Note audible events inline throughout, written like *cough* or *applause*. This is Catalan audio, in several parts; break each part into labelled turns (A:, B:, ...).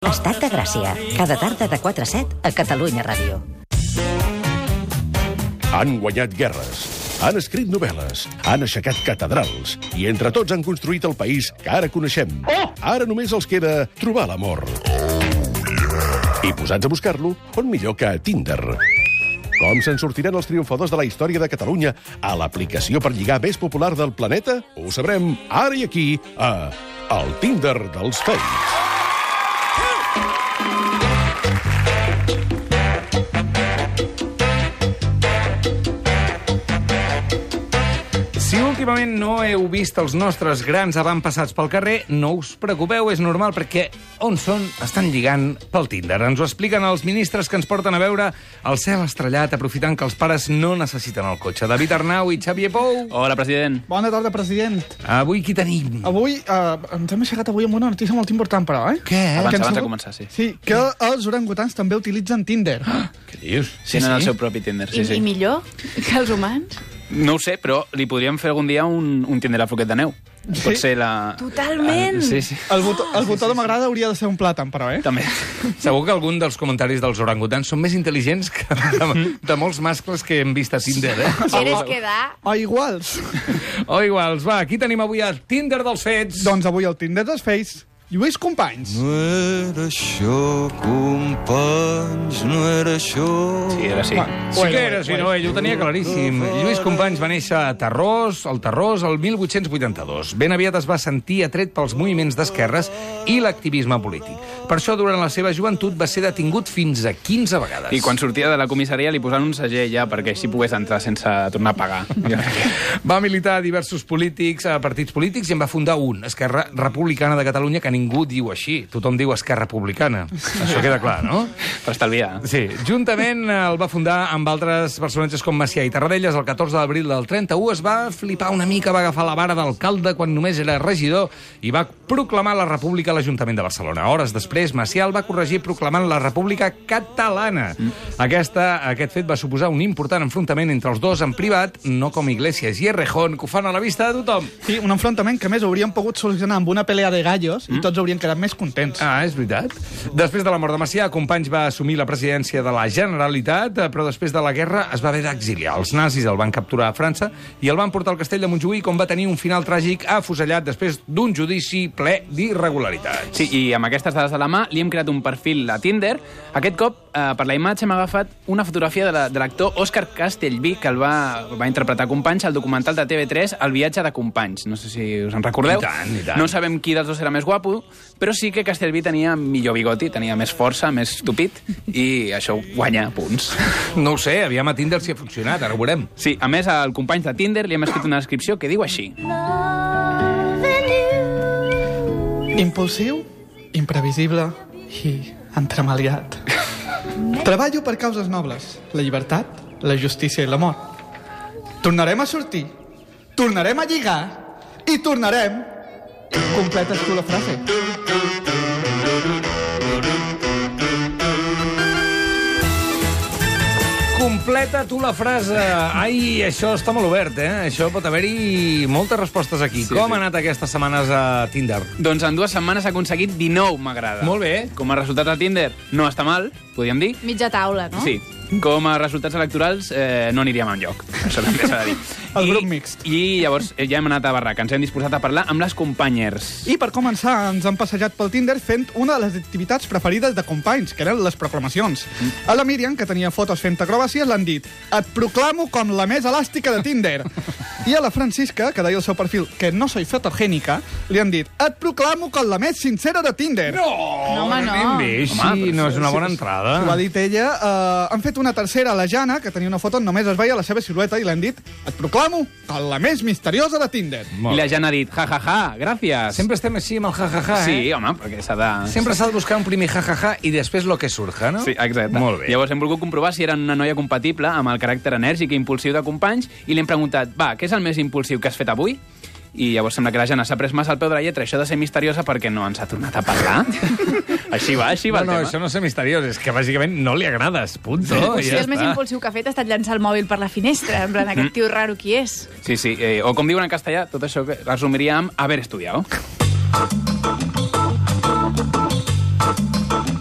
A: Estat de Gràcia, cada tarda de 4 a 7 a Catalunya Ràdio.
B: Han guanyat guerres, han escrit novel·les, han aixecat catedrals i entre tots han construït el país que ara coneixem.
C: Oh!
B: Ara només els queda trobar l'amor. I posats a buscar-lo, on millor que a Tinder. Com se'n sortiran els triomfadors de la història de Catalunya a l'aplicació per lligar més popular del planeta? Ho sabrem ara i aquí, a El Tinder dels Feis.
D: Si últimament no heu vist els nostres grans avantpassats pel carrer, no us preocupeu, és normal, perquè on són estan lligant pel Tinder. Ens ho expliquen els ministres que ens porten a veure el cel estrellat, aprofitant que els pares no necessiten el cotxe. David Arnau i Xavier Pou.
E: Hola, president.
C: Bona tarda, president.
D: Avui qui tenim?
C: Avui eh, ens hem aixecat avui amb una notícia molt important, però, eh?
D: Què?
C: Que
E: Abans-
C: ens
E: abans de
C: hem-
E: començar, sí.
C: Sí, que els orangutans també utilitzen Tinder.
E: *gasps*
B: Què dius?
E: Sí, Tenen sí. el seu propi Tinder, sí,
F: I,
E: sí.
F: I millor que els humans?
E: No ho sé, però li podríem fer algun dia un, un Tinder a Floquet de Neu.
C: Sí.
E: Pot ser la...
F: Totalment.
E: Ah, sí, sí.
C: El botó, el botó de m'agrada hauria de ser un plàtan, però, eh?
E: També.
D: Segur que algun dels comentaris dels orangutans són més intel·ligents que de, de molts mascles que hem vist a Tinder, eh?
F: Quieres quedar?
C: O iguals.
D: O iguals, va, aquí tenim avui a Tinder dels fets.
C: *laughs* doncs avui el Tinder dels Face, Lluís Companys.
E: Mm.
G: No era això, companys, no era això.
E: Sí, era sí.
C: Va,
D: Sí
C: ho
D: que era,
C: ho
D: sí, no, ell ho tenia claríssim. Lluís Companys va néixer a Tarrós, al Tarrós, el 1882. Ben aviat es va sentir atret pels moviments d'esquerres i l'activisme polític. Per això, durant la seva joventut, va ser detingut fins a 15 vegades.
E: I quan sortia de la comissaria li posaven un segell ja perquè així pogués entrar sense tornar a *laughs* pagar.
D: Va militar a diversos polítics, a partits polítics, i en va fundar un, Esquerra Republicana de Catalunya, que ningú diu així. Tothom diu Esquerra Republicana. Això queda clar, no?
E: per estalviar.
D: Sí, juntament eh, el va fundar amb altres personatges com Macià i Tarradellas el 14 d'abril del 31. Es va flipar una mica, va agafar la vara d'alcalde quan només era regidor i va proclamar la república a l'Ajuntament de Barcelona. Hores després, Macià el va corregir proclamant la república catalana. Aquesta, aquest fet va suposar un important enfrontament entre els dos en privat, no com Iglesias i Errejón, que ho fan a la vista de tothom.
C: Sí, un enfrontament que, a més, haurien pogut solucionar amb una pelea de gallos
E: Mm.
C: i tots haurien quedat més contents.
D: Ah, és veritat. Després de la mort de Macià, Companys va assumir la presidència de la Generalitat, eh, però després de la guerra es va haver d'exiliar. Els nazis el van capturar a França i el van portar al castell de Montjuïc, on va tenir un final tràgic afusellat després d'un judici ple d'irregularitats.
E: Sí, i amb aquestes dades a la mà li hem creat un perfil a Tinder. Aquest cop, eh, per la imatge, hem agafat una fotografia de la- de l'actor la, Òscar Castellví, que el va, va interpretar Companys al documental de TV3 El viatge de Companys. No sé si us en recordeu.
D: I tant, i tant.
E: No sabem qui dels dos era més guapo, però sí que Castellví tenia millor bigoti, tenia més força, més tupit, i això guanya punts.
D: No ho sé, aviam a Tinder si ha funcionat, ara ho veurem.
E: Sí, a més, al Companys de Tinder li hem escrit una descripció que diu així.
C: Impulsiu, imprevisible i entremaliat. Treballo per causes nobles, la llibertat, la justícia i l'amor. Tornarem a sortir, tornarem a lligar i tornarem... Completes tu la frase.
D: Completa tu la frase. Ai, això està molt obert, eh? Això pot haver-hi moltes respostes aquí.
E: Sí,
D: Com
E: sí.
D: ha anat aquestes setmanes a Tinder?
E: Doncs en dues setmanes ha aconseguit 19 m'agrada.
D: Molt bé.
E: Com a resultat de Tinder, no està mal, podríem dir.
F: Mitja taula, no?
E: Sí, com a resultats electorals eh, no aniríem enlloc, això també s'ha de dir.
C: El
E: I-
C: grup mixt.
E: I llavors eh, ja hem anat a Barraca, ens hem disposat a parlar amb les companyers.
C: I per començar, ens han passejat pel Tinder fent una de les activitats preferides de companys, que eren les proclamacions. A la Míriam, que tenia fotos fent acrobàcies, l'han dit et proclamo com la més elàstica de Tinder. I a la Francisca, que deia al seu perfil que no soy fotogénica, li han dit et proclamo com la més sincera de Tinder.
F: No, home, no.
D: Ben bé, sí,
E: però
D: no és una bona
C: sí,
D: entrada.
C: Ho ha dit ella. Uh, han fet una tercera a la Jana, que tenia una foto on només es veia la seva silueta, i l'han dit et proclamo com la més misteriosa de Tinder.
D: Molt
E: I la Jana ha dit, ja, ja, ja, gràcies.
D: Sempre estem així amb el ja-ja-ja, eh?
E: Sí, home, perquè s'ha de...
D: Sempre s'ha de buscar un primer jajaja i després lo que surja, no?
E: Sí, exacte.
D: Molt bé.
E: Llavors hem volgut comprovar si era una noia compatible amb el caràcter enèrgic i impulsiu de companys i li hem preguntat, va, què és el més impulsiu que has fet avui? I llavors sembla que la Jana s'ha pres massa al peu de la lletra, això de ser misteriosa perquè no ens ha tornat a
D: *laughs*
E: parlar. així va, així va
D: no, no,
E: el tema.
D: això no és ser misteriós, és que bàsicament no li agrades, punto.
F: O sigui,
D: ja
F: el més
D: està.
F: impulsiu que ha fet ha estat llançar el mòbil per la finestra, en plan,
D: Mm.
F: aquest tio raro qui és.
E: Sí, sí, eh, o com diuen en castellà, tot això que resumiria amb haver estudiat.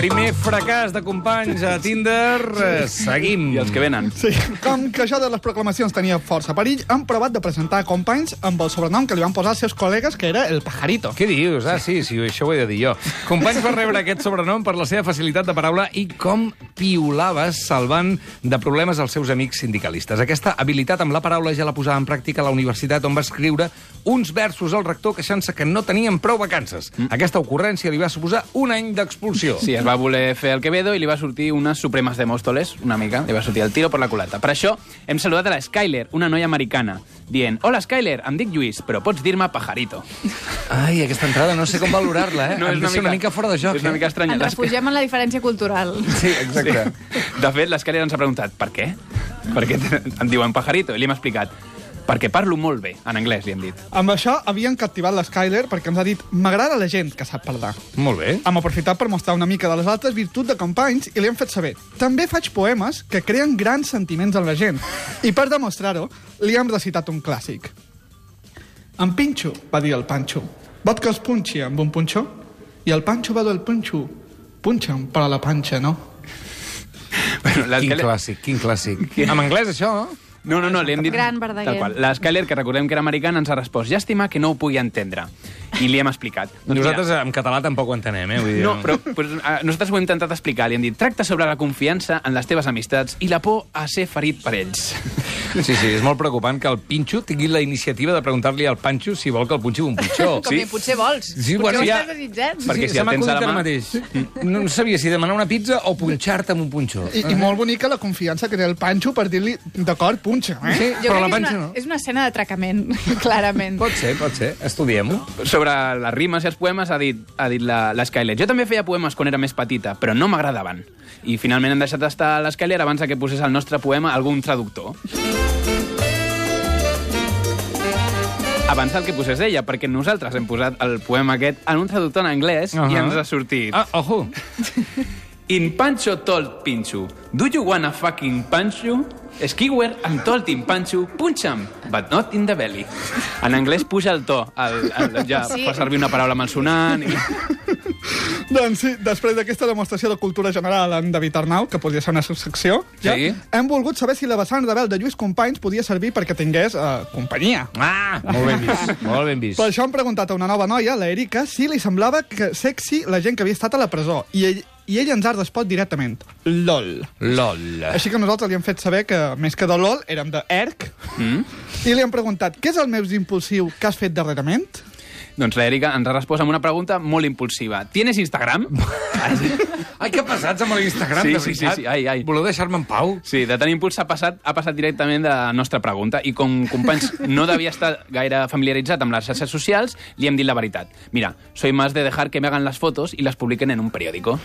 D: Primer fracàs de companys a Tinder. eh, Seguim.
E: I els que venen.
C: Sí, com que això de les proclamacions tenia força perill, han provat de presentar companys amb el sobrenom que li van posar els seus col·legues, que era el pajarito.
D: Què dius? Ah, sí, sí, això ho he de dir jo. Companys va rebre aquest sobrenom per la seva facilitat de paraula i com piolava salvant de problemes als seus amics sindicalistes. Aquesta habilitat amb la paraula ja la posava en pràctica a la universitat on va escriure uns versos al rector queixant-se que no tenien prou vacances. Aquesta ocurrència li va suposar un any d'expulsió.
E: Sí, es va voler fer el Quevedo i li va sortir unes supremes de Mòstoles, una mica, li va sortir el tiro per la culata. Per això hem saludat a la Skyler, una noia americana, dient Hola, Skyler, em dic Lluís, però pots dir-me Pajarito.
D: Ai, aquesta entrada no sé com valorar-la, eh? No, em deixa una mica fora de joc. eh?
E: És una mica estranya.
F: Ens
E: La-
F: refugiem en la diferència cultural.
D: Sí, exacte. Sí.
E: De fet, l'Escàlia ens ha preguntat per què? Per què te- em diuen pajarito? I li hem explicat perquè parlo molt bé, en anglès, li hem dit.
C: Amb això havien captivat la Skyler perquè ens ha dit m'agrada la gent que sap parlar.
D: Molt bé.
C: Hem aprofitat per mostrar una mica de les altres virtuts de companys i li hem fet saber. També faig poemes que creen grans sentiments en la gent. I per demostrar-ho, li hem recitat un clàssic. Em pinxo, va dir el Panxo. Vot que els punxi amb un punxó? I el Panxo va dur el punxo. Punxa'm, però la panxa no.
E: Bueno,
D: Quin
E: l'Escàlia-
D: clàssic, quin clàssic. En anglès, això, no?
E: No, no, no, li hem dit...
F: Gran Verdaguer.
E: Tal qual. L'Escàlia, que recordem que era americana, ens ha respost llàstima que no ho pugui entendre. I li hem explicat. Doncs mira,
D: *laughs* Nosaltres en català tampoc ho entenem, eh? Vull dir,
E: No, però pues, eh, nosaltres ho hem intentat explicar. Li hem dit, tracta sobre la confiança en les teves amistats i la por a ser ferit per ells.
D: Sí, sí, és molt preocupant que el Pinxo tingui la iniciativa de preguntar-li al Panxo si vol que el punxi un punxó.
F: Com que potser vols.
D: Oh, Sí,
F: potser
D: bueno,
F: ho
D: ja-
F: estàs desitjant.
E: Perquè si
D: se
E: el
D: m'ha
E: tens a la
D: acudit ara
E: mà-
D: mateix. Mm. No sabia si demanar una pizza o punxar-te amb un punxó.
C: I,
F: Eh?
C: I molt bonica la confiança que té el Panxo per dir-li, d'acord, punxa, eh?
D: Sí,
F: Jo
D: però la
F: crec que és
D: panxa
F: una,
D: no.
F: és una escena d'atracament, *laughs* clarament.
D: Pot ser, pot ser. Estudiem-ho.
E: Sobre les rimes i els poemes ha dit, ha dit la, la Skyler. Jo també feia poemes quan era més petita, però no m'agradaven. I finalment hem deixat estar la Skyler abans de que posés el nostre poema algun traductor. Abans del que posés ella, perquè nosaltres hem posat el poema aquest en un traductor en anglès uh -huh. i
D: Ahà.
E: ens ha sortit...
D: Ah, ojo.
E: In Pancho told Pinchu, do you wanna fucking Pancho? Skewer and told in Pancho, punch him, but not in the belly. En anglès puja el to, el, el, ja
F: Sí.
E: sí. fa servir una paraula malsonant... I...
C: Doncs sí, després d'aquesta demostració de cultura general en David Arnau, que podria ser una subsecció, ja
D: Sí.
C: hem volgut saber si la vessant rebel de Lluís Companys podia servir perquè tingués eh, companyia.
D: Ah, molt ben vist, molt ben vist.
C: Per això hem preguntat a una nova noia, la Erika, si li semblava que sexy la gent que havia estat a la presó. I ell, i ell ens ha respost directament. LOL.
D: LOL.
C: Així que nosaltres li hem fet saber que, més que de LOL, érem de ERC. Mm. I li hem preguntat, què és el més impulsiu que has fet darrerament?
E: Doncs l'Èrica ens ha respost amb una pregunta molt impulsiva. ¿Tienes Instagram?
D: Ai, que pesats amb l'Instagram,
E: Sí,
D: de
E: sí, sí,
D: veritat.
E: sí, ai, ai.
D: Voleu deixar-me en pau?
E: Sí, de tan impuls ha passat, ha passat directament de la nostra pregunta i com companys no devia estar gaire familiaritzat amb les xarxes socials, li hem dit la veritat. Mira, soy más de dejar que me hagan las fotos y las publiquen en un periódico.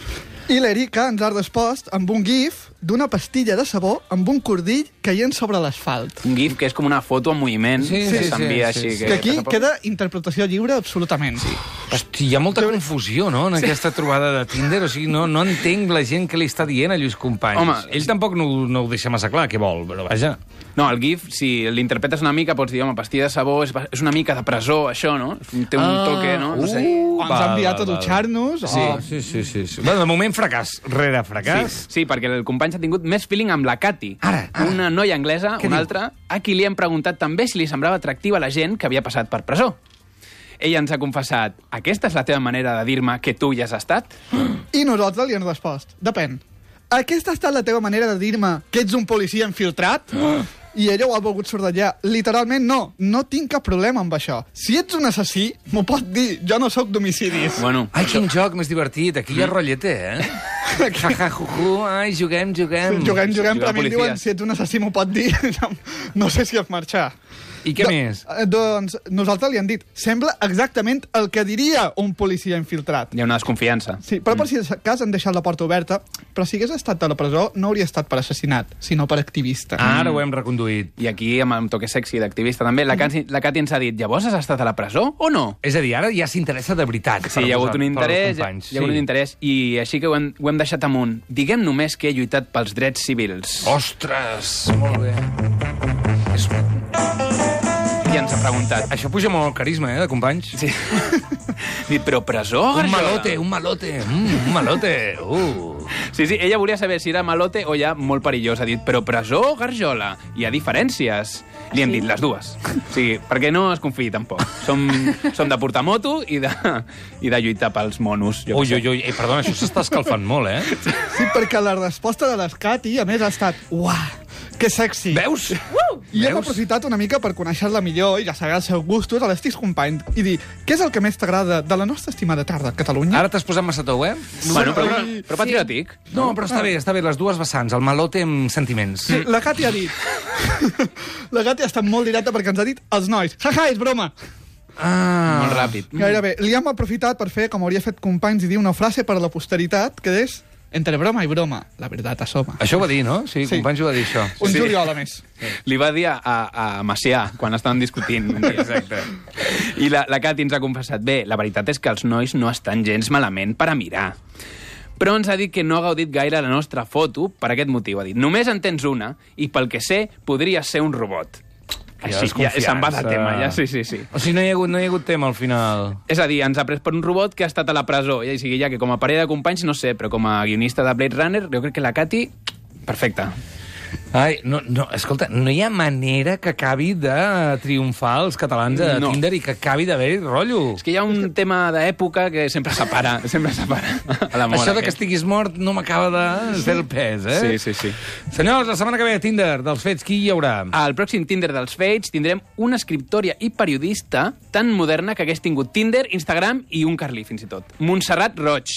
C: I l'Erika ens ha respost amb un gif d'una pastilla de sabó amb un cordill caient sobre l'asfalt.
E: Un GIF que és com una foto en moviment
D: Sí,
E: que
D: sí,
E: s'envia
D: sí, sí, sí.
E: així. Que,
C: Que aquí
E: que tampoc-
C: queda interpretació lliure absolutament. Sí.
D: Hosti, hi ha molta confusió, no?, en aquesta trobada de Tinder. O sigui, no, no entenc la gent que li està dient a Lluís Companys.
E: Home,
D: Ell tampoc no, ho- no ho deixa massa clar, què vol, però vaja.
E: No, el GIF, si l'interpretes una mica, pots dir, home, pastilla de sabó, és, és una mica de presó, això, no? Té un toque, no? no sé.
C: O Uh, ens ha enviat a dutxar-nos, oh.
D: Sí.
C: o...
D: sí, sí, sí, sí. Bueno, de moment fracàs, rere fracàs.
E: Sí, perquè el company s'ha tingut més feeling amb la Katy.
D: Ara, ara.
E: Una noia anglesa,
D: Què
E: una
D: diu?
E: altra, a qui li hem preguntat també si li semblava atractiva la gent que havia passat per presó. Ella ens ha confessat, aquesta és la teva manera de dir-me que tu hi has estat?
C: I nosaltres li hem respost. Depèn. Aquesta ha estat la teva manera de dir-me que ets un policia infiltrat? I ella ho ha volgut sordellar. Literalment, no. No tinc cap problema amb això. Si ets un assassí, m'ho pot dir. Jo no sóc d'homicidis.
E: Bueno,
D: Ai, quin joc més divertit. Aquí hi ha rotllete, *laughs* eh? Ja, ja, ju, ju. Ai, juguem, juguem.
C: Juguem, juguem, però a mi em
E: policia.
C: diuen si ets un assassí m'ho pot dir. *laughs* No sé si has marxar.
D: I què
C: Do-
D: més?
C: eh, Doncs nosaltres li hem dit, sembla exactament el que diria un policia infiltrat.
E: hi ha una desconfiança.
C: Sí, però
D: Mm.
C: per si de cas han deixat la porta oberta, però si hagués estat a la presó no hauria estat per assassinat, sinó per activista.
D: Ara ho hem reconduït.
E: I aquí, amb un toque sexy d'activista també, la, Cati, la Katy ens ha dit, llavors has estat a la presó o no?
D: És a dir, ara ja s'interessa de veritat.
E: Sí,
D: per
E: hi ha hagut
D: posar-
E: un
D: per
E: interès,
D: als companys,
E: hi ha hagut
D: sí.
E: un interès, i així que ho hem, ho hem deixat amunt. Diguem només que he lluitat pels drets
D: Oh.
E: civils.
D: Ostres, molt bé.
E: I ens que ha preguntat.
D: Això puja molt el carisma, eh, de companys. *laughs*
E: Sí. Dic, però presó,
D: Un
E: Garjola?"
D: malote, un malote, mm, un malote. Uh.
E: Sí, sí, ella volia saber si era malote o ja molt perillós. Ha dit, però presó o garjola? Hi ha diferències. Li hem
F: Sí?
E: dit les dues. O sigui, perquè no es confiï tampoc. Som, som de portar moto i de, i de lluitar pels monos. Jo
D: Ui,
E: què
D: ui,
E: sé.
D: ui, eh, perdona, això s'està escalfant molt, eh?
C: Sí, perquè la resposta de l'Escati, a més, ha estat... Uah, que sexy.
D: Veus?
C: I hem
D: Veus?
C: aprofitat una mica per conèixer-la millor i ja saber els seus gustos a l'estic company i dir què és el que més t'agrada de la nostra estimada tarda a Catalunya.
D: Ara t'has posat massa tou, eh?
E: Bueno, però, però patriòtic.
D: No, però està bé, està bé, les dues vessants, el malote amb sentiments.
C: Sí, la Cati ha
D: *laughs*
C: dit... la Cati ha estat molt directa perquè ens ha dit els nois. Ja, ja, és broma.
D: Ah.
E: Molt ràpid.
C: Mm. Gairebé. Li hem aprofitat per fer, com hauria fet companys, i dir una frase per a la posteritat, que és... Entre broma i broma, la veritat assoma.
D: Això ho va dir, no? Sí,
C: Sí.
D: companys ho va dir, això.
C: Un
E: Sí.
C: juliol, a més.
E: Li va dir a, a, a Macià, quan estaven discutint. un dia. I la, la Cati ens ha confessat, bé, la veritat és que els nois no estan gens malament per a mirar. Però ens ha dit que no ha gaudit gaire la nostra foto per aquest motiu. Ha dit, només en tens una i pel que sé podria ser un robot. Així, ja,
D: desconfiança.
E: se'n va del tema, ja, sí, sí, sí.
D: O sigui, no hi ha hagut, no hi ha hagut tema al final.
E: És a dir, ens ha pres per un robot que ha estat a la presó. Ja, sigui, ja que com a parella de companys, no sé, però com a guionista de Blade Runner, jo crec que la Cati... Perfecta.
D: Ai, no, no, escolta, no hi ha manera que acabi de triomfar els catalans a
E: No.
D: Tinder i que acabi d'haver-hi rotllo.
E: És que hi ha un tema d'època que sempre
D: *laughs*
E: separa, sempre separa a l'amor.
D: Això de que
E: aquest.
D: estiguis mort no m'acaba de fer el pes, eh?
E: Sí, sí, sí.
D: Senyors, la setmana que ve a Tinder, dels fets, qui hi haurà?
E: Al pròxim Tinder dels Fates tindrem una escriptòria i periodista tan moderna que hagués tingut Tinder, Instagram i un Carlí, fins i tot. Montserrat Roig.